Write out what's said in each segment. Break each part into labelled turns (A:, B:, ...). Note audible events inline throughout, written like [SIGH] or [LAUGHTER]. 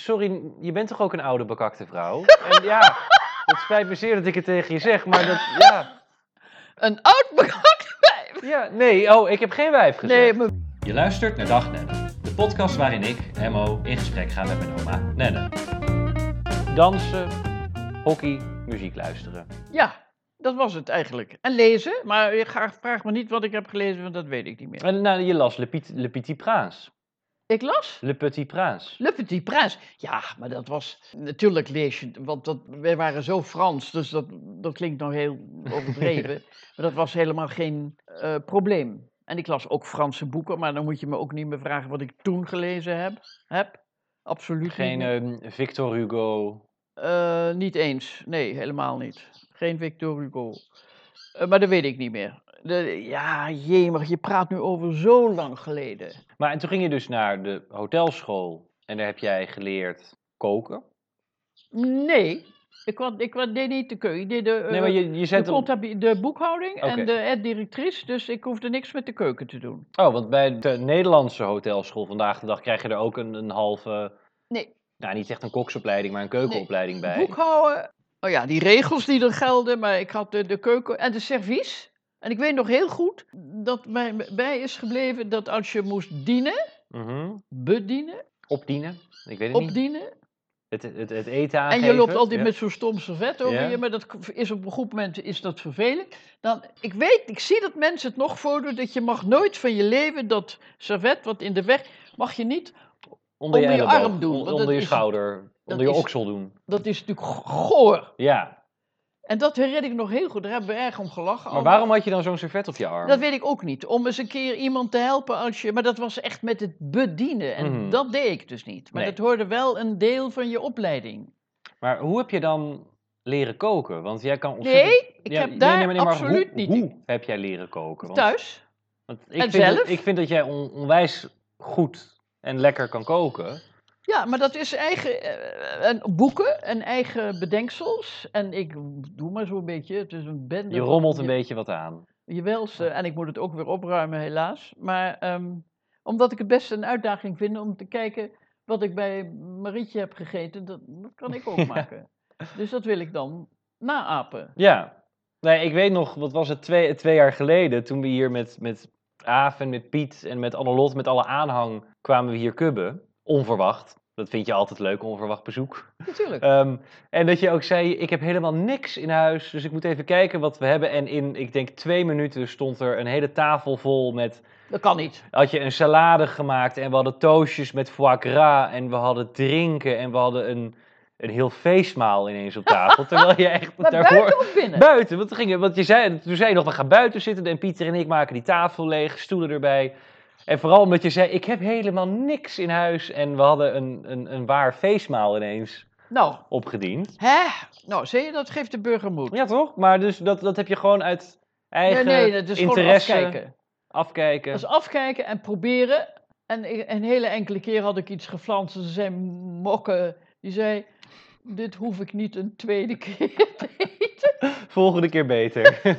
A: Sorry, je bent toch ook een oude bekakte
B: [LAUGHS]
A: vrouw? En ja, het spijt me zeer dat ik het tegen je zeg, maar dat, ja.
B: Een oud [LAUGHS] bekakt wijf.
A: Ja, nee, oh, ik heb geen wijf gezegd.
B: Nee, maar
A: Je luistert naar Dag Nenne, de podcast waarin ik, Emmo, in gesprek ga met mijn oma Nenne. Dansen, hockey, muziek luisteren.
B: ja, dat was het eigenlijk. En lezen, maar je ga- vraag me niet wat ik heb gelezen, want dat weet ik niet meer.
A: En nou, je las Le, Petit- Le Petit Prince.
B: Ik las
A: Le Petit Prince.
B: Le Petit Prince. Ja, maar dat was... Natuurlijk lees je, want dat, wij waren zo Frans, dus dat, dat klinkt nog heel overdreven. maar dat was helemaal geen eh, probleem. En ik las ook Franse boeken, maar dan moet je me ook niet meer vragen wat ik toen gelezen heb. heb. Absoluut niet
A: Geen
B: meer.
A: ehm, Victor Hugo.
B: Eh, niet eens. Nee, helemaal niet. Geen Victor Hugo. Eh, maar dat weet ik niet meer. De, ja, jemig, je praat nu over zo lang geleden.
A: Maar en toen ging je dus naar de hotelschool en daar heb jij geleerd koken.
B: Nee, ik, kwam, ik kwam- deed niet de keuken. Ik deed de, eh,
A: Nee, maar je, je
B: de,
A: zei toch...
B: contabi- de boekhouding
A: Oké.
B: en de ad-directrice, dus ik hoefde niks met de keuken te doen.
A: Oh, want bij de Nederlandse hotelschool vandaag de dag krijg je er ook een, een halve...
B: Nee,
A: Nou, niet echt een koksopleiding, maar een keukenopleiding bij.
B: boekhouden. Oh ja, die regels die er gelden, maar ik had de, de keuken en de servies. En ik weet nog heel goed dat mij bij is gebleven dat als je moest dienen,
A: Mhm.
B: bedienen,
A: Opdienen? Ik weet het niet.
B: opdienen,
A: Het, het, het eten
B: En
A: aangeven.
B: je loopt altijd
A: ja.
B: met zo'n stom servet over
A: Ja.
B: je, maar dat is op een goed moment is dat vervelend. Dan, ik weet, ik zie dat mensen het nog voordoen, dat je mag nooit van je leven dat servet wat in de weg, mag je niet.
A: onder je,
B: onder je
A: elleboog,
B: arm doen,
A: on-
B: want
A: Onder
B: dat
A: je
B: is-
A: schouder.
B: dat
A: Onder je
B: is-
A: oksel doen.
B: Dat is natuurlijk go- goor.
A: Ja.
B: En dat herinner ik nog heel goed, daar hebben we erg om gelachen.
A: Maar waarom had je dan zo'n servet op je arm?
B: Oh. Dat weet ik ook niet. Om eens een keer iemand te helpen als je. Maar dat was echt met het bedienen. En
A: Mhm.
B: dat deed ik dus niet. Maar
A: Nee.
B: dat hoorde wel een deel van je opleiding.
A: Maar hoe heb je dan leren koken? Want jij kan ontzettend...
B: Nee, ik
A: Ja,
B: heb daar
A: nee, maar hoe-
B: absoluut niet.
A: Hoe heb jij leren koken? Want-
B: Thuis?
A: Want ik
B: En
A: vind dat-
B: zelf?
A: ik vind dat jij on- onwijs goed en lekker kan koken.
B: Ja, maar dat is eigen eh, en boeken en eigen bedenksels. En ik doe maar zo'n beetje. Het is een bende.
A: Je rommelt een beetje wat aan.
B: Je welste. En ik moet het ook weer opruimen, helaas. Maar ehm, omdat ik het best een uitdaging vind om te kijken wat ik bij Marietje heb gegeten, dat, dat kan ik
A: [LAUGHS]
B: ook maken. Dus dat wil ik dan naapen.
A: Ja. Nee, ik weet nog, wat was het, twee, twee jaar geleden, toen we hier met, met Aaf en met Piet en met Annelot, met alle aanhang, kwamen we hier kubben. Onverwacht. Dat vind je altijd leuk, onverwacht bezoek.
B: Natuurlijk.
A: Ehm, en dat je ook zei, ik heb helemaal niks in huis, dus ik moet even kijken wat we hebben. En in, ik denk, twee minuten stond er een hele tafel vol met
B: Dat kan niet.
A: had je een salade gemaakt en we hadden toastjes met foie gras en we hadden drinken en we hadden een, een heel feestmaal ineens op tafel. terwijl je
B: [LAUGHS]
A: echt
B: Maar
A: daarvoor...
B: buiten of binnen?
A: Buiten, want, toen gingen- want je zei, toen zei je nog, we gaan buiten zitten en Pieter en ik maken die tafel leeg, stoelen erbij. En vooral omdat je zei, ik heb helemaal niks in huis en we hadden een, een, een waar feestmaal ineens
B: nou,
A: opgediend.
B: hè? Nou, zie je, dat geeft de burger moed.
A: Ja toch? Maar dus dat, dat heb je gewoon uit
B: nee,
A: eigen
B: nee, dat is gewoon
A: interesse
B: afkijken.
A: afkijken.
B: Dat is afkijken en proberen. En ik- een hele enkele keer had ik iets geflanst. Ze zei mokken. Die zei, dit hoef ik niet een tweede [LAUGHS] keer te eten.
A: Volgende keer
B: [LAUGHS]
A: beter.
B: Oh Toen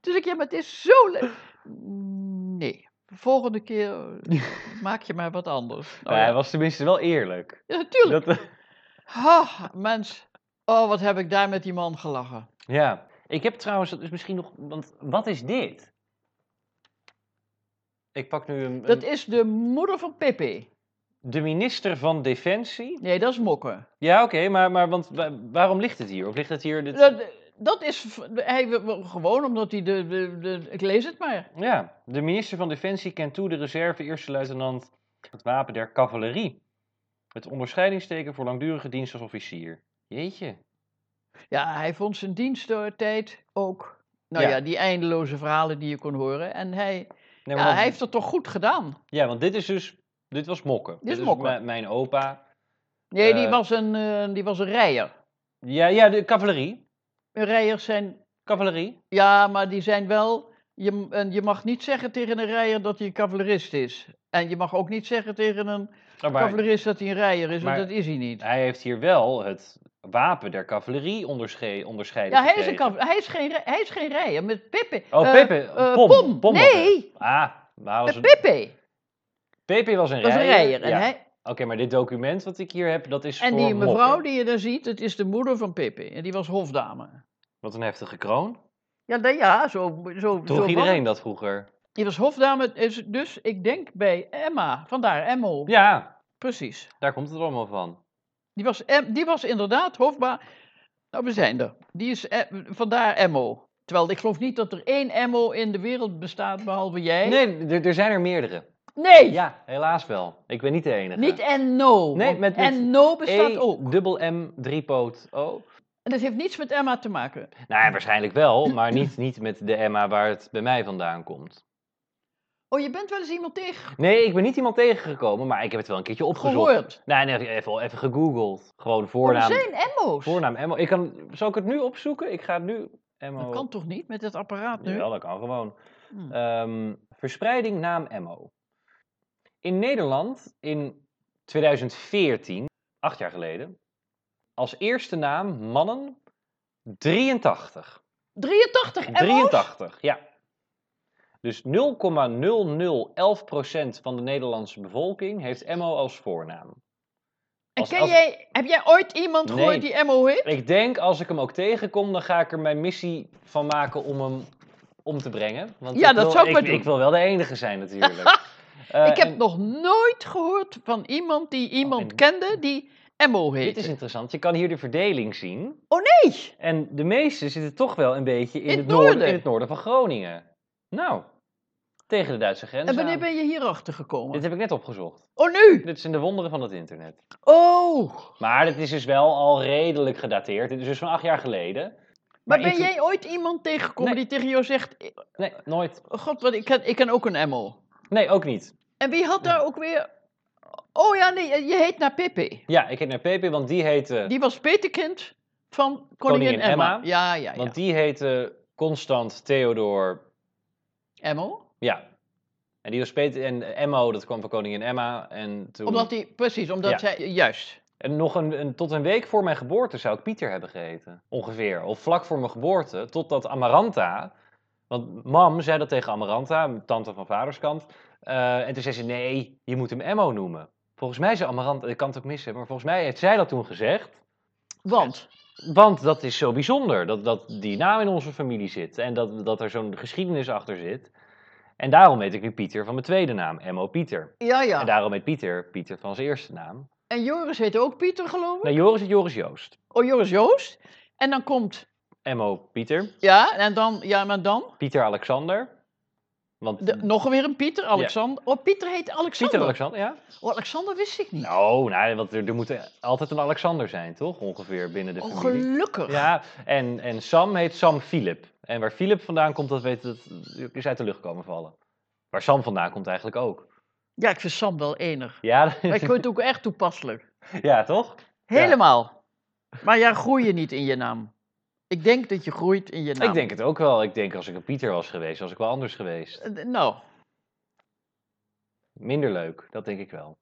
B: Dus ik, ja, maar het is zo leuk. Nee, volgende [LAUGHS] keer eh, maak je maar wat anders. Nou
A: Maar hij
B: ja,
A: was tenminste wel eerlijk.
B: ja, natuurlijk.
A: Dat,
B: Ha, mens. Oh, wat heb ik daar met die man gelachen.
A: ja. Ik heb trouwens, dat is misschien nog, want wat is dit? Ik pak nu een,
B: Dat
A: een-
B: is de moeder van Pepe.
A: de minister van Defensie.
B: Nee, dat is mokken.
A: Ja, oké, maar, maar want, wa- waarom ligt het hier? Of ligt het hier? Dit...
B: Dat, dat is v- hij, gewoon omdat hij de, de, de... Ik lees het maar.
A: Ja, de minister van Defensie kent toe de reserve eerste luitenant het wapen der cavalerie. Het onderscheidingsteken voor langdurige dienst als officier. Jeetje.
B: Ja, hij vond zijn diensttijd ook. Nou
A: Ja.
B: ja. die eindeloze verhalen die je kon horen. En hij,
A: Nee,
B: ja,
A: maar dat-
B: hij heeft dat toch goed gedaan?
A: ja, want dit is dus, dit was mokken.
B: Dit is Mokken.
A: mi- mijn opa.
B: Nee,
A: Eh.
B: die, was een, eh, die was een rijer.
A: Ja, ja, de cavalerie.
B: Rijers zijn,
A: Cavalerie. Oh,
B: ja, maar die zijn wel. Je, en je mag niet zeggen tegen een rijer dat hij een cavalerist is. En je mag ook niet zeggen tegen een
A: Oh, maar-
B: cavalerist dat hij een rijer is,
A: maar-
B: want dat is hij niet.
A: Hij heeft hier wel het wapen der cavalerie ondersche- onderscheiden.
B: Ja, hij is, een
A: gekregen.
B: cav- hij, is geen, ri- hij is geen rijer. Met Pepe.
A: Oh,
B: eh,
A: Pepe.
B: eh,
A: Pom.
B: Pom.
A: Pom was
B: Nee,
A: Ah, maar hij was
B: met
A: een,
B: Pepe
A: Pepe was een
B: was een
A: rijer.
B: rijer. En
A: ja.
B: hij,
A: maar dit document wat ik hier heb, dat is
B: En
A: voor
B: die mevrouw
A: Mokker.
B: die je daar ziet, dat is de moeder van Pepe. En die was hofdame.
A: Wat een heftige kroon.
B: Ja, nou ja zo, zo, zo
A: Droeg
B: was
A: iedereen
B: het.
A: dat vroeger?
B: Die was hofdame, is dus ik denk bij Emma. Vandaar Emmo.
A: Ja,
B: Precies.
A: daar komt het allemaal van.
B: Die was, em, die was inderdaad hofba. Nou, we zijn er. Die is em- vandaar Emmo. Terwijl ik geloof niet dat er één Emmo in de wereld bestaat, behalve jij.
A: Nee, er- er zijn er meerdere.
B: Nee,
A: Ja, helaas wel. Ik ben niet de enige.
B: niet en no.
A: Nee,
B: want
A: met- met
B: en no bestaat
A: E,
B: ook.
A: dubbel M, driepoot O.
B: En dat heeft niets met Emma te maken.
A: Nou ja, waarschijnlijk wel, maar niet, niet met de Emma waar het bij mij vandaan komt.
B: Oh, je bent wel eens iemand tegen
A: Nee, ik ben niet iemand tegengekomen, maar ik heb het wel een keertje opgezocht.
B: gehoord. Oh,
A: Nee, nee, even, even gegoogeld. Gewoon
B: Er
A: voornaam.
B: zijn Emmo's.
A: Voornaam Emma. Ik kan, zal ik het nu opzoeken? Ik ga het nu. Emmo.
B: Dat kan toch niet met dit apparaat nu?
A: Ja, dat kan gewoon.
B: Hm.
A: Ehm, verspreiding naam Emmo. In Nederland in 2014, acht jaar geleden, als eerste naam mannen 83.
B: 83 Emmo's?
A: 83, ja. Dus 0,0011% van de Nederlandse bevolking heeft Emmo als voornaam.
B: En
A: Als-
B: ken
A: als-
B: jij, heb jij ooit iemand
A: Nee.
B: gehoord die Emmo heet?
A: Ik denk als ik hem ook tegenkom, dan ga ik er mijn missie van maken om hem om te brengen. Want
B: Ja,
A: ik
B: dat
A: wil-
B: zou ik
A: ik
B: maar doen.
A: Ik wil wel de enige zijn
B: [LAUGHS]
A: natuurlijk. Eh,
B: ik heb
A: en Oh,
B: nog nooit gehoord van iemand die iemand
A: en-
B: kende die Emmo heet.
A: Dit is interessant. Je kan hier de verdeling zien.
B: Nee!
A: En de meeste zitten toch wel een beetje in,
B: In
A: het,
B: het noorden.
A: in het noorden van Groningen. Nou, tegen de Duitse grens.
B: En wanneer
A: aan.
B: ben je hierachter
A: Dit
B: gekomen?
A: heb ik net opgezocht.
B: Oh, nu!
A: Dit zijn de wonderen van het internet.
B: Oh!
A: Maar dit is dus wel al redelijk gedateerd. Dit is dus van acht jaar geleden.
B: Maar
A: Maar
B: ben
A: ik-
B: jij ooit iemand
A: Nee.
B: tegengekomen die tegen jou zegt... eh,
A: Nee, nooit.
B: God, wat, ik, ken, ik ken ook een Emmo.
A: Nee, ook niet.
B: En wie had daar ook weer... Oh ja, nee, je heet naar Pippi.
A: Ja, ik heet naar Pepe, want die heette...
B: Die was petekind van koningin,
A: Koningin
B: Emma.
A: Emma.
B: Ja, ja, ja.
A: Want die heette Constant Theodor.
B: Emmo?
A: Ja. En die was Peter. En Emmo, dat kwam van koningin Emma. En toen.
B: Omdat hij, precies, omdat
A: Ja.
B: zij, juist.
A: En nog een, een- tot een week voor mijn geboorte zou ik Pieter hebben geheten. Ongeveer. Of vlak voor mijn geboorte. Totdat Amaranta. Want mam zei dat tegen Amaranta, mijn tante van vaders kant. eh, en toen zei ze: nee, je moet hem Emmo noemen. Volgens mij zei Amaranta. Ik kan het ook missen, maar volgens mij heeft zij dat toen gezegd.
B: Want,
A: Want dat is zo bijzonder, dat, dat die naam in onze familie zit en dat, dat er zo'n geschiedenis achter zit. En daarom heet ik nu Pieter van mijn tweede naam, M.O. Pieter.
B: ja, ja.
A: En
B: En,
A: daarom heet Pieter Pieter van zijn eerste naam.
B: Joris heet ook Pieter, geloof ik?
A: Nou, Joris is Joris Joost.
B: Oh, Joris Joost. En dan komt,
A: M.O. Pieter.
B: ja, en dan, ja, maar dan?
A: Pieter Alexander. Want
B: De, nog weer een Pieter, Alexander. Oh, Pieter heet Alexander.
A: Hmm. Pieter Alexander, ja?
B: Oh, Alexander wist ik niet.
A: Nou, nou want er, er moet altijd een Alexander zijn, toch? Ongeveer binnen de
B: oh,
A: familie.
B: gelukkig.
A: Ja, en, en Sam heet Sam Philip. En waar Philip vandaan komt, dat weet dat is uit de lucht komen vallen. Waar Sam vandaan komt eigenlijk ook.
B: Ja, ik vind Sam wel
A: [LAUGHS]
B: enig.
A: Ja,
B: Maar ik vind het ook echt toepasselijk.
A: ja toch? Ja.
B: Helemaal. Maar ja, groei je niet in je naam. Ik denk dat je groeit in je naam.
A: Ik denk het ook wel. Ik denk als ik een Pieter was geweest, was ik wel anders geweest.
B: Eh, Nou, [LAUGHS]
A: Minder leuk, dat denk ik wel.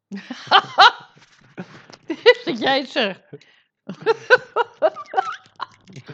B: dat jij het
A: [LAUGHS]
B: zegt. [LAUGHS]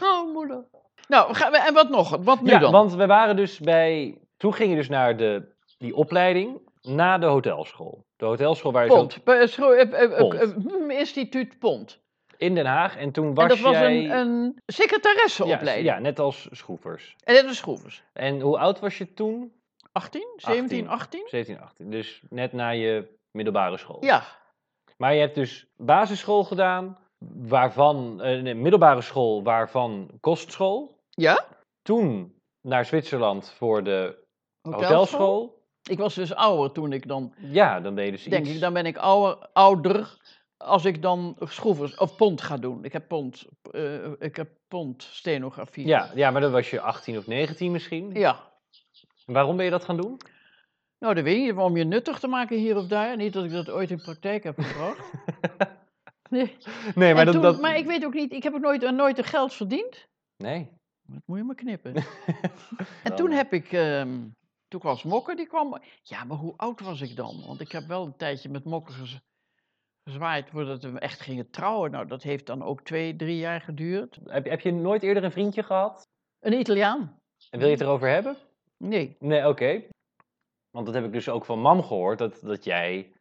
B: oh, moeder. Nou, gaan we, en wat nog? Wat nu
A: ja,
B: dan?
A: want we waren dus bij... Toen ging je dus naar de, die opleiding na de hotelschool. De hotelschool waar je zo...
B: Pont. Eh, schro- eh, eh, eh,
A: Pont.
B: eh, hm, Instituut Pont.
A: In Den Haag. En toen was,
B: En dat was
A: jij...
B: een, een
A: ja,
B: secretaresseopleiding.
A: Ja, net als schroevers.
B: En dat is schroevers.
A: En hoe oud was je toen?
B: 18, 17, 18?
A: 17, 18. Dus net na je middelbare school.
B: Ja.
A: Maar je hebt dus basisschool gedaan, waarvan, eh, nee, middelbare school, waarvan kostschool.
B: Ja?
A: Toen naar Zwitserland voor de hotelschool.
B: Ik was dus ouder toen ik dan,
A: Ja, dan ben je dus
B: denk
A: iets...
B: ik, dan ben ik ouder, ouder als ik dan schroevers of pond ga doen. Ik heb pond, eh, ik heb pond stenografie.
A: Ja, ja, maar dan was je 18 of 19 misschien.
B: Ja.
A: Waarom ben je dat gaan doen?
B: Nou, dat weet ik niet, om je nuttig te maken hier of daar. Niet dat ik dat ooit in praktijk heb
A: [LAUGHS]
B: gebracht. Nee.
A: Nee,
B: En toen- maar ik weet ook niet, ik heb ook nooit, nooit er geld verdiend.
A: Nee.
B: Dat moet je maar
A: [LAUGHS]
B: knippen. En
A: Dan,
B: toen
A: eh,
B: heb ik, ehm, toen was Mokker, die kwam. Ja, maar hoe oud was ik dan? Want ik heb wel een tijdje met Mokker gez- gezwaaid voordat we echt gingen trouwen. Nou, dat heeft dan ook twee, drie jaar geduurd.
A: Heb, heb je nooit eerder een vriendje gehad?
B: Een Italiaan?
A: En wil je het erover hebben?
B: Nee.
A: Nee, oké. Want dat heb ik dus ook van mam gehoord, dat, dat jij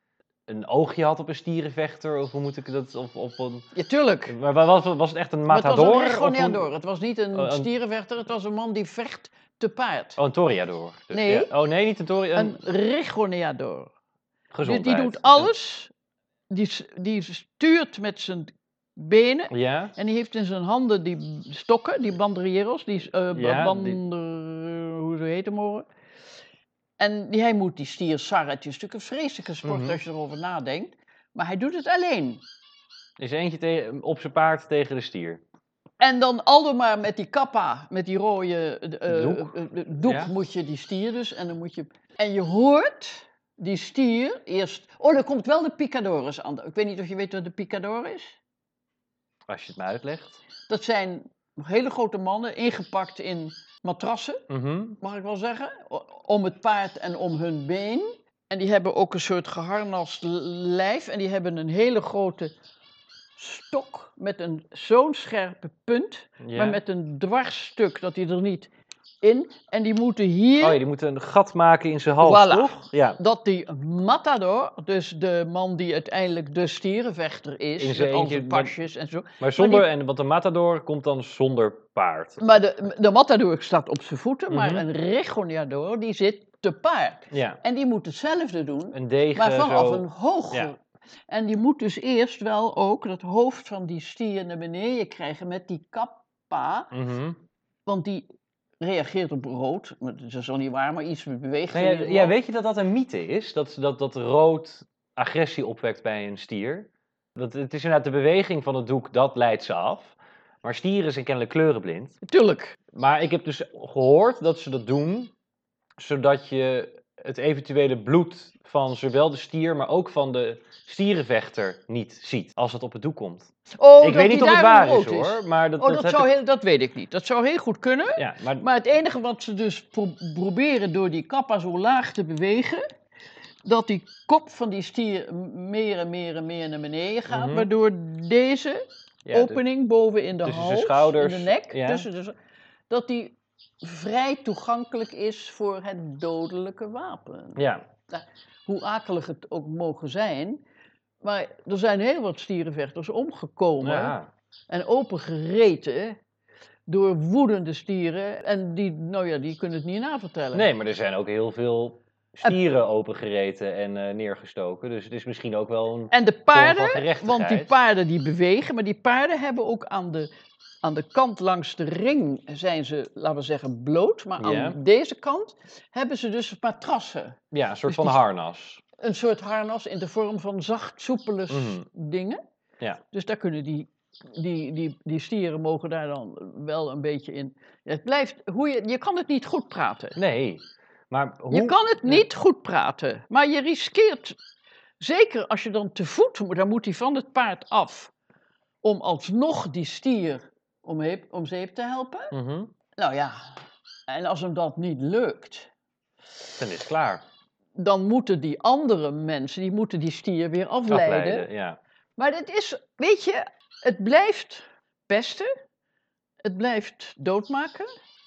A: een oogje had op een stierenvechter? Of hoe moet ik dat? Of, of een,
B: Ja, tuurlijk.
A: maar wa- was, was het echt een
B: Maar het was
A: matador?
B: een
A: of een-
B: regoneador. Het was niet een
A: Oh, een-
B: stierenvechter, het was een man die vecht te paard.
A: Oh, een toriador. Dus,
B: Nee.
A: ja. Oh nee, niet een tori. Een,
B: Een regoneador. Die,
A: gezondheid.
B: die doet alles. Die, s- die stuurt met zijn benen.
A: Ja?
B: En die heeft in zijn handen die stokken, die banderieros, die eh
A: Ja, die-
B: bander- hoe ze heten mogen. En die, hij moet die stier sarren. Het is natuurlijk een vreselijke sport
A: Mhm.
B: als je erover nadenkt. Maar hij doet het alleen.
A: Is eentje te- op zijn paard tegen de stier.
B: En dan aldoor maar met die kappa, met die rode eh, eh,
A: Doek.
B: eh, eh, doek
A: Ja.
B: moet je die stier dus. En, dan moet je, en je hoort die stier eerst... Oh, daar komt wel de picadores aan. Ik weet niet of je weet wat de picador is.
A: Als je het me uitlegt.
B: Dat zijn hele grote mannen, ingepakt in matrassen,
A: Mhm.
B: mag ik wel zeggen. o- Om het paard en om hun been. En die hebben ook een soort geharnast l- lijf. En die hebben een hele grote stok met een zo'n scherpe punt
A: Ja.
B: maar met een dwarsstuk dat hij er niet in. En die moeten hier,
A: Oh ja, die moet een gat maken in zijn hals,
B: Voilà.
A: toch? Ja.
B: dat die matador, dus de man die uiteindelijk de stierenvechter is,
A: In zijn
B: met al
A: eentje,
B: zijn
A: maar-
B: pasjes en zo.
A: Maar zonder, en, want de matador komt dan zonder paard.
B: Maar de, de matador staat op zijn voeten,
A: Mhm.
B: maar een regoneador die zit te paard.
A: Ja,
B: En die moet hetzelfde doen,
A: een degen
B: maar vanaf
A: eh, zo.
B: een hoger.
A: ja.
B: En die moet dus eerst wel ook dat hoofd van die stier naar beneden krijgen met die kappa.
A: Mhm.
B: Want die reageert op rood. Maar Dat is al niet waar, maar iets met beweging.
A: Nou
B: in
A: ja,
B: ieder
A: ja,
B: geval.
A: weet je dat dat een mythe is? Dat, dat, dat rood agressie opwekt bij een stier? Dat, het is inderdaad de beweging van het doek, dat leidt ze af. Maar stieren zijn kennelijk kleurenblind.
B: Tuurlijk.
A: Maar ik heb dus gehoord dat ze dat doen, zodat je het eventuele bloed van zowel de stier, maar ook van de stierenvechter niet ziet als het op het doek komt.
B: Oh,
A: ik
B: dat
A: weet niet
B: die
A: of het
B: daarom
A: waar is
B: rood
A: hoor, maar dat,
B: oh, dat,
A: heb
B: zou
A: ik-
B: heel, dat weet ik niet. Dat zou heel goed kunnen.
A: Ja, maar,
B: Maar het enige wat ze dus pro- proberen door die kappa zo laag te bewegen. Dat die kop van die stier m- meer en meer en meer naar beneden gaat.
A: Mhm.
B: Waardoor deze
A: ja, de-
B: opening boven in de
A: tussen zijn
B: hals,
A: schouders,
B: in de nek,
A: ja.
B: tussen de, dat die vrij toegankelijk is voor het dodelijke wapen.
A: ja,
B: hoe akelig het ook mogen zijn. Maar er zijn heel wat stierenvechters omgekomen
A: ja.
B: en opengereten door woedende stieren. En die, nou ja, die kunnen het niet navertellen.
A: Nee, maar er zijn ook heel veel
B: Eh,
A: stieren opengereten en eh, neergestoken. Dus het is misschien ook wel een.
B: En de
A: Vorm
B: paarden,
A: van gerechtigheid.
B: want die paarden die bewegen, maar die paarden hebben ook aan de, aan de kant langs de ring zijn ze, laten we zeggen, bloot. Maar aan
A: Ja.
B: deze kant hebben ze dus matrassen.
A: Ja, een soort
B: dus
A: van
B: die-
A: harnas.
B: een soort harnas in de vorm van zacht, soepele s-
A: Mhm.
B: dingen.
A: Ja.
B: Dus daar kunnen die, die, die, die stieren mogen daar dan wel een beetje in. Het blijft, hoe je, je kan het niet goed praten.
A: Nee. Maar hoe.
B: Je kan het
A: Ja.
B: niet goed praten, maar je riskeert, zeker als je dan te voet moet, dan moet hij van het paard af, om alsnog die stier om, heep- om zeep te helpen.
A: Mhm.
B: Nou ja, en als hem dat niet lukt,
A: Dan is het klaar.
B: dan moeten die andere mensen, die moeten die stier weer afleiden.
A: Afleiden, ja.
B: Maar het is, weet je, het blijft pesten, het blijft doodmaken.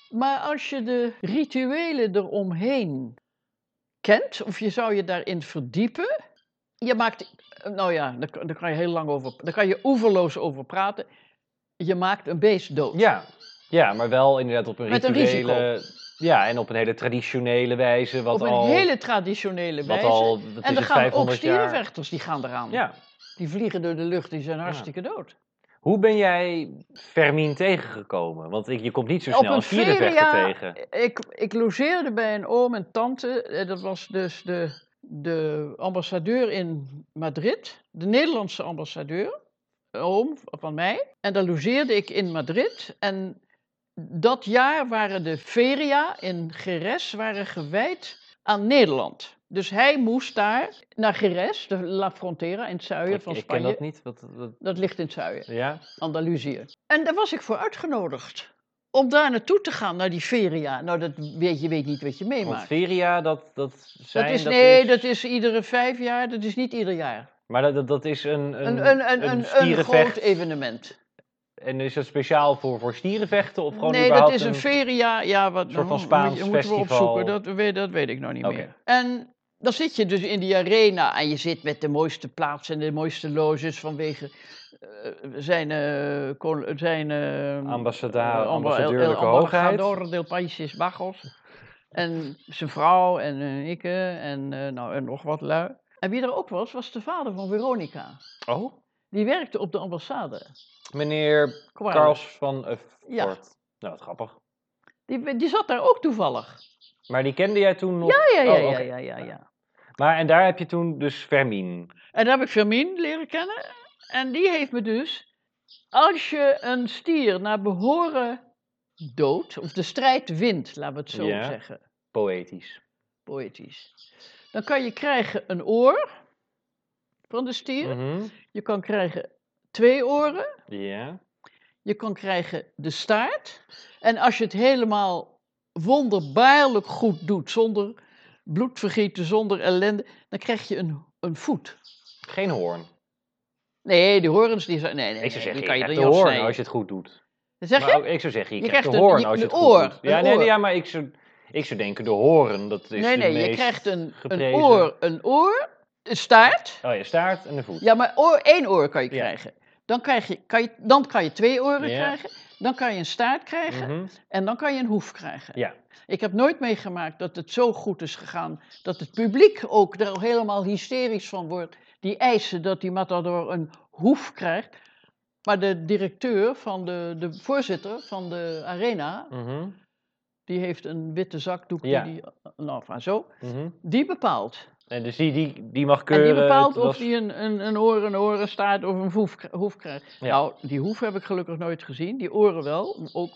B: Maar als je de rituelen eromheen kent, of je zou je daarin verdiepen, je maakt, nou ja, daar, kan- daar kan je heel lang over, daar kan je oeverloos over praten. Je maakt een beest dood.
A: ja. Ja, maar wel inderdaad op een
B: Met een
A: rituele. Ja, en op een hele traditionele wijze. Wat
B: op een
A: al,
B: hele traditionele
A: wat
B: wijze.
A: al, wat is
B: en er
A: het,
B: gaan ook
A: 500 jaar-
B: stierenvechters, die gaan eraan.
A: Ja.
B: Die vliegen door de lucht, die zijn hartstikke dood.
A: Hoe ben jij Fermin tegengekomen? Want ik, je komt niet zo
B: Op
A: snel
B: een
A: een stierenvechter
B: feria-
A: tegen.
B: Ik, ik logeerde bij een oom en tante. eh, Dat was dus de, de ambassadeur in Madrid. De Nederlandse ambassadeur. Een oom van mij. En daar logeerde ik in Madrid. En dat jaar waren de feria in Geres waren gewijd aan Nederland. Dus hij moest daar naar Geres, de La Frontera in het zuiden
A: Ik,
B: van
A: ik
B: Spanje.
A: ken dat
B: Dat,
A: niet. Wat, wat-
B: ligt in het zuiden,
A: ja?
B: Andalusië. En daar was ik voor uitgenodigd. Om daar naartoe te gaan, naar die feria. Nou, dat weet, je weet niet wat je
A: Want
B: meemaakt.
A: feria, dat, dat zijn...
B: dat is, nee, dat is iedere vijf jaar, dat is niet ieder jaar.
A: Maar dat, dat, dat is een, een,
B: Een, een, een,
A: een
B: een, een
A: stierenvecht.
B: groot evenement.
A: En is dat speciaal voor, voor stierenvechten of gewoon
B: Nee, dat
A: überhaupt
B: is een feria. Ja, wat
A: soort van
B: nou,
A: Spaans
B: moet je- moeten we
A: festival.
B: opzoeken. Dat weet, dat weet ik nou niet
A: Oké.
B: meer. En dan zit je dus in die arena en je zit met de mooiste plaatsen en de mooiste loges vanwege eh, zijn, eh, kon- zijn eh,
A: Ambassadeur,
B: eh,
A: ambassadeurlijke
B: el- el-
A: hoogheid.
B: Ambassador del Países Bajos. En zijn vrouw en eh, ik eh, en, eh, nou, en nog wat lui. En wie er ook was, was de vader van Veronica.
A: Oh,
B: Die werkte op de ambassade.
A: meneer
B: Quarles.
A: Karls van eh,
B: Ja.
A: Fort. Nou, wat grappig.
B: Die, die zat daar ook toevallig.
A: Maar die kende jij toen nog?
B: Ja, ja,
A: Oh,
B: ja,
A: oké.
B: ja, ja, ja.
A: Maar en daar heb je toen dus Fermin.
B: En daar heb ik Firmin leren kennen. En die heeft me dus, als je een stier naar behoren doodt, of de strijd wint, laten we het zo
A: Ja.
B: zeggen.
A: Poëtisch.
B: poëtisch. Dan kan je krijgen een oor van de stier.
A: Mhm.
B: Je kan krijgen twee oren.
A: Ja.
B: Je kan krijgen de staart. En als je het helemaal wonderbaarlijk goed doet, zonder bloedvergieten, zonder ellende, dan krijg je een, een voet.
A: Geen hoorn.
B: Nee, die horens die zijn. Nee, nee,
A: Ik zou
B: nee,
A: zeggen,
B: die
A: je
B: kan je
A: krijgt
B: dan
A: de
B: niet
A: hoorn
B: afsnijden.
A: als je het goed doet.
B: Dan zeg
A: Maar
B: je?
A: ook, ik zou zeggen, je,
B: Je
A: krijgt,
B: krijgt
A: de
B: een-
A: hoorn
B: je-
A: als je
B: een
A: het goed
B: oor,
A: doet.
B: een
A: Ja, nee,
B: oor.
A: nee, ja, maar ik zou, ik zou denken, de hoorn, dat is
B: nee,
A: de
B: nee,
A: meest
B: je krijgt een, een
A: geprezen-
B: oor, een oor, een staart.
A: Oh, je staart en de voet.
B: Ja, maar oor, één oor kan je
A: Ja.
B: krijgen. Dan, krijg je, kan je, dan kan je twee oren
A: Ja.
B: krijgen. Dan kan je een staart krijgen.
A: Mhm.
B: En dan kan je een hoef krijgen.
A: Ja.
B: Ik heb nooit meegemaakt dat het zo goed is gegaan. dat het publiek ook er helemaal hysterisch van wordt. Die eisen dat die matador een hoef krijgt. Maar de directeur van de, de voorzitter van de arena.
A: Mhm.
B: die heeft een witte zakdoek.
A: Ja.
B: Die die, nou, van zo.
A: Mhm.
B: Die bepaalt.
A: En dus die, die, die mag keuren.
B: en die bepaalt
A: het
B: of
A: was-
B: die een, een, een oor, een orenstaart of een hoef, hoef krijgt.
A: Ja.
B: Nou, die hoef heb ik gelukkig nooit gezien. Die oren wel. Ook,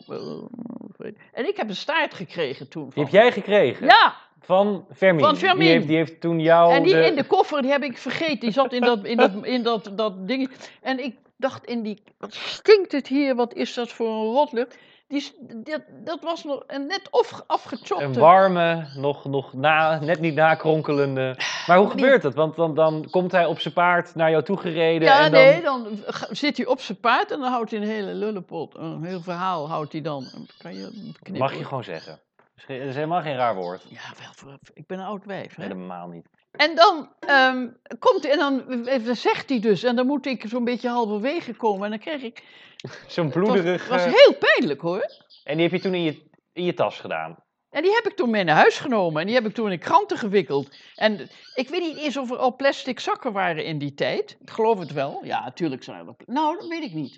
B: eh, en ik heb een staart gekregen toen.
A: Die
B: Van.
A: heb jij gekregen?
B: Ja,
A: Van Fermin.
B: Van Fermin.
A: Die heeft, die heeft toen jou
B: en die
A: Oh, de...
B: in de koffer die heb ik vergeten. Die zat in dat, in dat, in dat, dat ding. En ik dacht in die, wat stinkt het hier? Wat is dat voor een rotlucht? Die, s- dat, dat was nog een net of,
A: Een
B: afgechopte.
A: warme, nog, nog na, net niet nakronkelende. Maar hoe
B: Die-
A: gebeurt dat? Want dan, dan komt hij op zijn paard naar jou toegereden.
B: Ja,
A: en dan...
B: nee, dan ga- zit hij op zijn paard en dan houdt hij een hele lullenpot. Een heel verhaal houdt hij dan. Kan je knippen?
A: Mag je gewoon zeggen. Dat is geen- dat is helemaal geen raar woord.
B: Ja, wel, voor- ik ben een oud wijf. Hè?
A: Helemaal niet.
B: En dan ehm, komt hij en dan eh, zegt hij dus, en dan moet ik zo'n beetje halverwege komen. En dan kreeg ik.
A: Zo'n
B: Het was,
A: bloederig.
B: was
A: eh,
B: heel pijnlijk hoor.
A: En die heb je toen in je, in je tas gedaan.
B: En die heb ik toen mee naar huis genomen en die heb ik toen in kranten gewikkeld. En ik weet niet eens of er al plastic zakken waren in die tijd. Ik geloof het wel. Ja, natuurlijk zijn er. Nou, dat weet ik niet.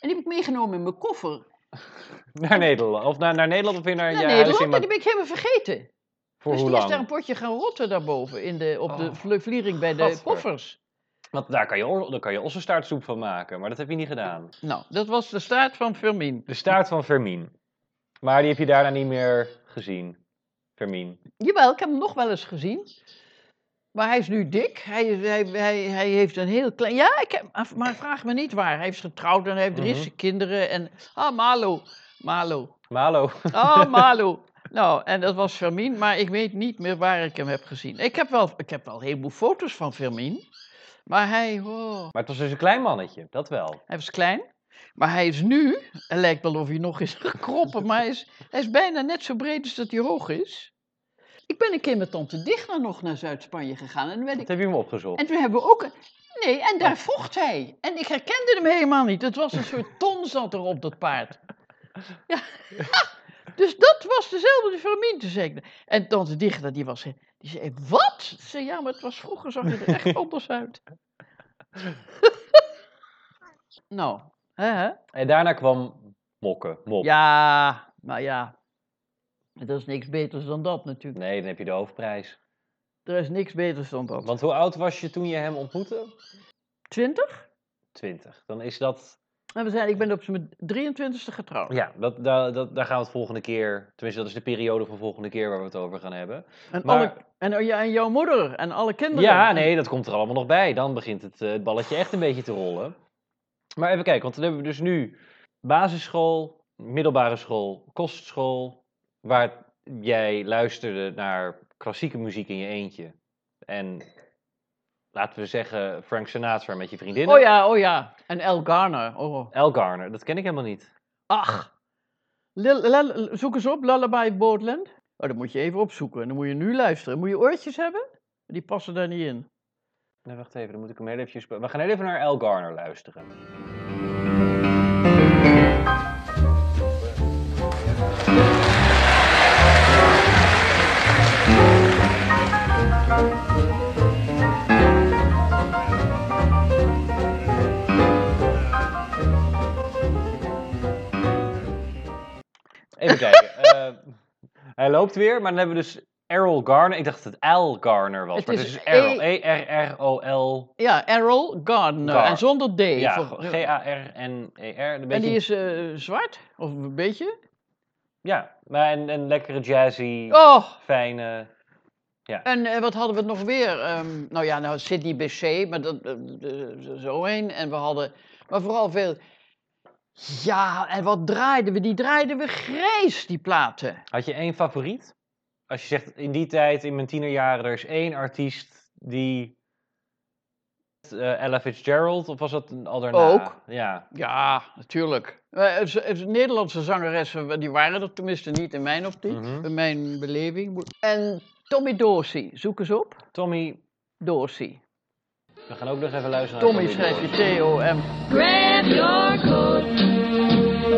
B: En die heb ik meegenomen in mijn koffer
A: Naar Nederland. Of naar, naar Nederland of weer naar,
B: naar
A: dus je huis
B: Nederland.
A: in
B: En
A: Ma-
B: die ben ik helemaal vergeten.
A: Voor
B: dus
A: hoe
B: die is daar een
A: lang?
B: potje gaan rotten daarboven in de, op de
A: Oh,
B: vle- vliering bij de
A: gadver.
B: koffers.
A: Want daar kan, je, or- daar kan je ossenstaartsoep van maken. Maar dat heb je niet gedaan.
B: Nou, dat was de staart van Firmin.
A: De staart van Fermin. Maar die heb je daarna niet meer gezien. Fermin.
B: Jawel, ik heb hem nog wel eens gezien. Maar hij is nu dik. Hij, is- hij, hij, hij heeft een heel klein. Ja, ik heb, maar vraag me niet waar. Hij is getrouwd en hij heeft drie
A: Mhm.
B: kinderen. En. Ah, Malo. Malo.
A: Maar hallo.
B: Ah, Malo. Nou, en dat was Firmin, maar ik weet niet meer waar ik hem heb gezien. Ik heb wel, ik heb wel een heleboel foto's van Firmin. Maar hij, oh,
A: Maar het was dus een klein mannetje. Dat wel.
B: hij was klein. Maar hij is nu, het lijkt wel of hij nog is [LAUGHS] gekroppen, maar hij is, hij is bijna net zo breed als dat hij hoog is. Ik ben een keer met tante Digna nog naar Zuid-Spanje gegaan en, toen werd
A: Dat
B: ik,
A: heb je hem opgezocht.
B: en toen hebben we ook een... Nee, en daar vocht hij. En ik herkende hem helemaal niet. Het was een soort ton zat er op dat paard. Ja. [LAUGHS] Dus dat was dezelfde Fermin, toen zei ik. En tante Digna, die was... Die zei, wat? Ze zei, ja, maar het was vroeger, zag je er echt anders uit. [LAUGHS] nou, hè, hè?
A: En daarna kwam Mokken. Mop.
B: Ja, maar ja. Er is niks beters dan dat natuurlijk.
A: Nee, dan heb je de hoofdprijs.
B: Er is niks beters dan dat.
A: Want hoe oud was je toen je hem ontmoette?
B: 20?
A: 20. Dan is dat
B: En we zijn, ik ben op mijn 23ste getrouwd.
A: Ja, dat, daar- dat, daar gaan we het volgende keer. Tenminste, dat is de periode van volgende keer waar we het over gaan hebben.
B: en,
A: maar-
B: alle, en, oh ja, en jouw moeder en alle kinderen.
A: Ja, nee, dat komt er allemaal nog bij. Dan begint het, eh, het balletje echt een beetje te rollen. Maar even kijken, want dan hebben we dus nu basisschool, middelbare school, kostschool. Waar jij luisterde naar klassieke muziek in je eentje. En laten we zeggen Frank Sinatra met je vriendinnen.
B: Oh ja, oh ja. En El Garner. Oh.
A: Al Garner, dat ken ik helemaal niet.
B: Ach. Lil- lal- zoek eens op, Lullaby Boatland. Oh, dat moet je even opzoeken. Dan moet je nu luisteren. Moet je oortjes hebben? Die passen daar niet in.
A: Nee, wacht even, dan moet ik hem heel eventjes... be- We gaan heel even naar Al Garner luisteren. Even kijken. [LAUGHS] eh, hij loopt weer, maar dan hebben we dus Errol Garner. Ik dacht dat het Al Garner was,
B: Het
A: maar het
B: is E-
A: is dus Errol. E-R-R-O-L.
B: Ja, Errol Gardner.
A: Gar-
B: En zonder D.
A: Ja,
B: voor-
A: G-A-R-N-E-R. E Een
B: E- en die
A: beetje,
B: is eh, zwart? Of een beetje?
A: ja, maar een, een lekkere jazzy,
B: Oh,
A: fijne...
B: en eh, wat hadden we nog weer? Ehm, nou ja, nou Sidney Bechet, maar dat, eh, eh, zo heen. En we hadden, maar vooral veel... Ja, en wat draaiden we? Die draaiden we grijs, die platen.
A: Had je één favoriet? Als je zegt, in die tijd, in mijn tienerjaren, er is één artiest die... eh Ella Fitzgerald, of was dat een- al daarna?
B: Ook.
A: Ja,
B: Ja, natuurlijk. Eh, z- eh, Nederlandse zangeressen, eh, die waren er tenminste niet in mijn optiek,
A: Mhm.
B: in mijn beleving. En Tommy Dorsey, zoek eens op.
A: Tommy.
B: Dorsey.
A: We gaan ook nog even luisteren
B: Tommy
A: naar
B: schrijf je
A: Dorsey.
B: T-O-M.
C: Grab your coat.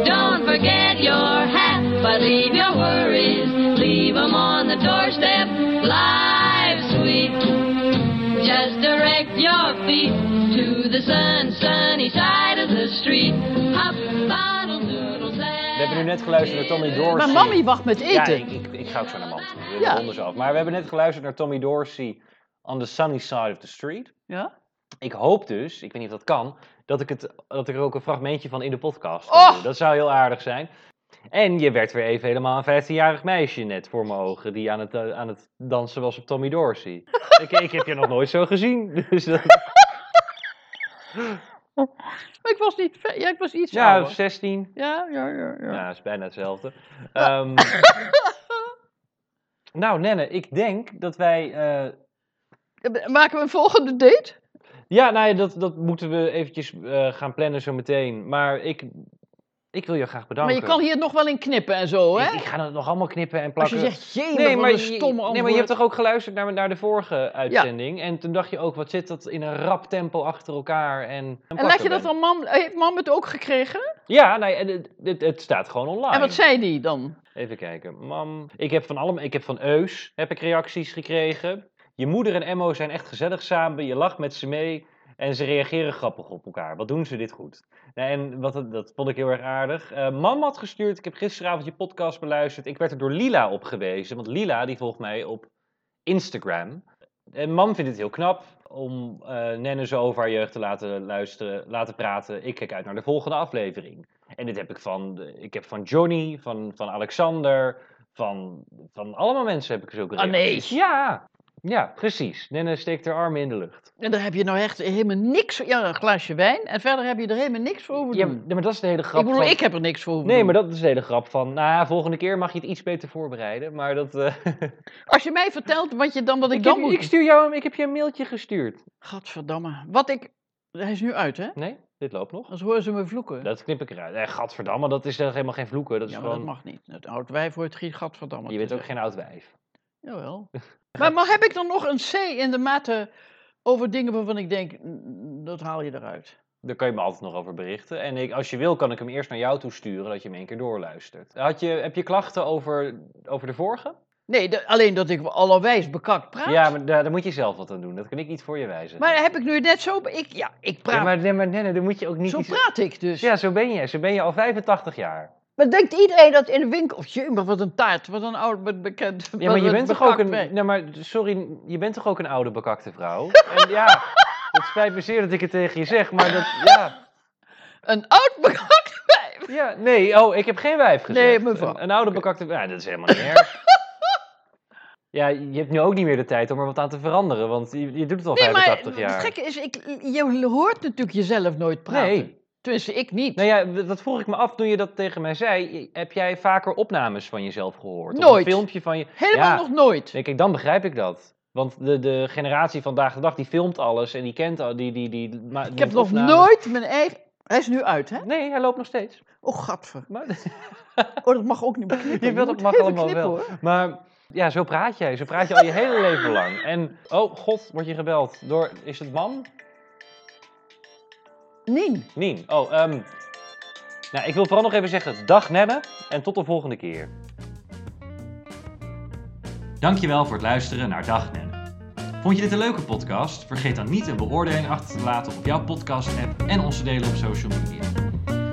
C: Don't forget your hat, but leave your worries. Leave 'em on the doorstep. Live sweet. Just direct your feet to the sun, sunny side of the street. Hop, bottle, doodle,
A: We hebben nu net geluisterd naar Tommy Dorsey.
B: Maar mami wacht met
A: Ja,
B: eten.
A: ik, ik, ik ga ook zo naar man toe. We
B: Ja.
A: ja. zo af. Maar we hebben net geluisterd naar Tommy Dorsey on the sunny side of the street.
B: Ja?
A: Ik hoop dus, ik weet niet of dat kan, dat ik, het, dat ik er ook een fragmentje van in de podcast kan
B: Och!
A: doen. Dat zou heel aardig zijn. En je werd weer even helemaal een 15-jarig meisje net voor mijn ogen, die aan het, eh, aan het dansen was op Tommy
B: [LAUGHS]
A: Dorsey. ik, ik heb je nog nooit zo gezien. [LAUGHS] Dus dat,
B: Nou, Maar ik was niet ver- ja, ik was iets
A: ja,
B: ouder.
A: 16.
B: Ja, ja, ja, ja.
A: Ja, dat is bijna
B: [LAUGHS]
A: hetzelfde. Ehm, nou, Nenne, ik denk dat wij eh,
B: Eh, Maken we een volgende date?
A: Ja, nou ja, dat, dat moeten we eventjes eh, gaan plannen zo meteen. Maar ik, ik wil je graag bedanken.
B: Maar je kan hier nog wel in knippen en zo, hè?
A: Ik, ik ga het nog allemaal knippen en
B: Als je
A: plakken.
B: zegt, jee,
A: nee, maar
B: een
A: je-
B: stomme antwoord.
A: nee, maar je hebt toch ook geluisterd naar, naar de vorige uitzending? En toen dacht je ook, wat zit dat in een rap tempo achter elkaar? En,
B: En laat je dat dan mam... Heeft mam het ook gekregen?
A: Ja, nee, en het, het, het staat gewoon online.
B: En wat zei die dan?
A: Even kijken. Mam, ik heb van allemaal, ik heb van Eus heb ik reacties gekregen. Je moeder en Emmo zijn echt gezellig samen. Je lacht met ze mee en ze reageren grappig op elkaar. Wat doen ze dit goed? Nou, en wat, het- dat vond ik heel erg aardig. Eh, mam had gestuurd, ik heb gisteravond je podcast beluisterd. Ik werd er door Lila op gewezen, want Lila die volgt mij op Instagram. En mam vindt het heel knap om eh Nenne zo over haar jeugd te laten luisteren, laten praten. Ik kijk uit naar de volgende aflevering. En dit heb ik van, de- ik heb van Johnny, van, van Alexander, van, van allemaal mensen heb ik zulke
B: Ah, nee.
A: reacties. Ja, ja, precies. Nenne steekt haar armen in de lucht.
B: En daar heb je nou echt helemaal niks... Ja, een glaasje wijn. En verder heb je er helemaal niks voor hoeven
A: Ja,
B: doen.
A: maar dat is de hele grap
B: Ik bedoel,
A: van...
B: ik heb er niks voor hoeven
A: Nee,
B: doen.
A: maar dat is de hele grap van, nou ja, volgende keer mag je het iets beter voorbereiden, maar dat... eh,
B: Als je mij vertelt wat, je [LAUGHS] dan, wat ik,
A: ik,
B: dan
A: heb,
B: moet...
A: ik stuur jou, een- ik heb je een mailtje gestuurd.
B: Gadverdamme. Wat ik... Hij is nu uit, hè?
A: Nee, dit loopt nog.
B: Anders horen ze me vloeken.
A: Dat knip ik eruit. Eh, gadverdamme, dat is echt helemaal geen vloeken. Dat is
B: ja, maar
A: gewoon,
B: dat mag niet. Het oud wijf hoort geen gadverdamme
A: je
B: te
A: bent ook geen oud wijf.
B: Jawel.
A: [LAUGHS]
B: maar, maar heb ik dan nog een C in de mate over dingen waarvan ik denk, "Mm, dat haal je eruit?
A: Daar kan je me altijd nog over berichten. En ik, als je wil, kan ik hem eerst naar jou toe sturen, dat je hem één keer doorluistert. Had je, heb je klachten over, over de vorige?
B: Nee, de- alleen dat ik allerwijs bekakt praat.
A: Ja, maar daar, daar moet je zelf wat aan doen. Dat kan ik niet voor je wijzen.
B: Maar heb ik nu net zo... Ik, ja, ik praat.
A: Ja, maar, nee, maar nee, nee, daar moet je ook niet...
B: zo
A: iets-
B: praat ik dus.
A: Ja, zo ben je. Zo ben je al 85 jaar.
B: Maar denkt iedereen dat in de winkel... Of jee, maar wat een taart. Wat een oud be- bekend...
A: Ja, maar je bent toch ook een...
B: Nee,
A: Nee, maar sorry, je bent toch ook een oude bekakte vrouw? [LAUGHS] En ja, het spijt me zeer dat ik het tegen je zeg, maar dat... Ja.
B: Een oud bekakt wijf.
A: Ja, nee, oh, ik heb geen wijf gezegd.
B: Nee, mevrouw.
A: Een, een oude bekakte Ja, dat is helemaal niet
B: [LAUGHS]
A: erg. ja, je hebt nu ook niet meer de tijd om er wat aan te veranderen, want je, je doet het al
B: Nee, maar
A: 85
B: het
A: jaar.
B: gekke is, ik, je hoort natuurlijk jezelf nooit praten.
A: nee.
B: Tenminste, ik niet.
A: Nou ja, d- dat vroeg ik me af toen je dat tegen mij zei. Heb jij vaker opnames van jezelf gehoord? Of
B: Nooit.
A: een filmpje van je.
B: Helemaal
A: Ja.
B: nog nooit.
A: Nee, kijk, dan begrijp ik dat. Want de, de generatie vandaag de dag die filmt alles en die kent al. Die, die, die, ma-
B: Ik
A: doet
B: heb nog
A: opnames.
B: nooit mijn eigen... Hij is nu uit, hè?
A: Nee, hij loopt nog steeds.
B: Oh, gadver.
A: Maar,
B: [LAUGHS] Oh, dat mag ook niet beknippen.
A: Je wilt
B: moet
A: dat mag
B: even
A: allemaal
B: knippen,
A: wel.
B: hoor.
A: maar Ja, zo praat jij. Zo praat je al je hele leven lang. En, oh god, word je gebeld door, is het mam?
B: Nien.
A: Nien. Oh, ehm nou, ik wil vooral nog even zeggen, dag Nemme en tot de volgende keer. Dankjewel voor het luisteren naar Dag Nemme. Vond je dit een leuke podcast? Vergeet dan niet een beoordeling achter te laten op jouw podcast-app en onze delen op social media.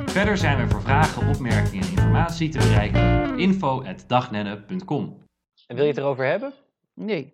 A: Verder zijn we voor vragen, opmerkingen en informatie te bereiken op info.dagnenne.com. En wil je het erover hebben?
B: Nee.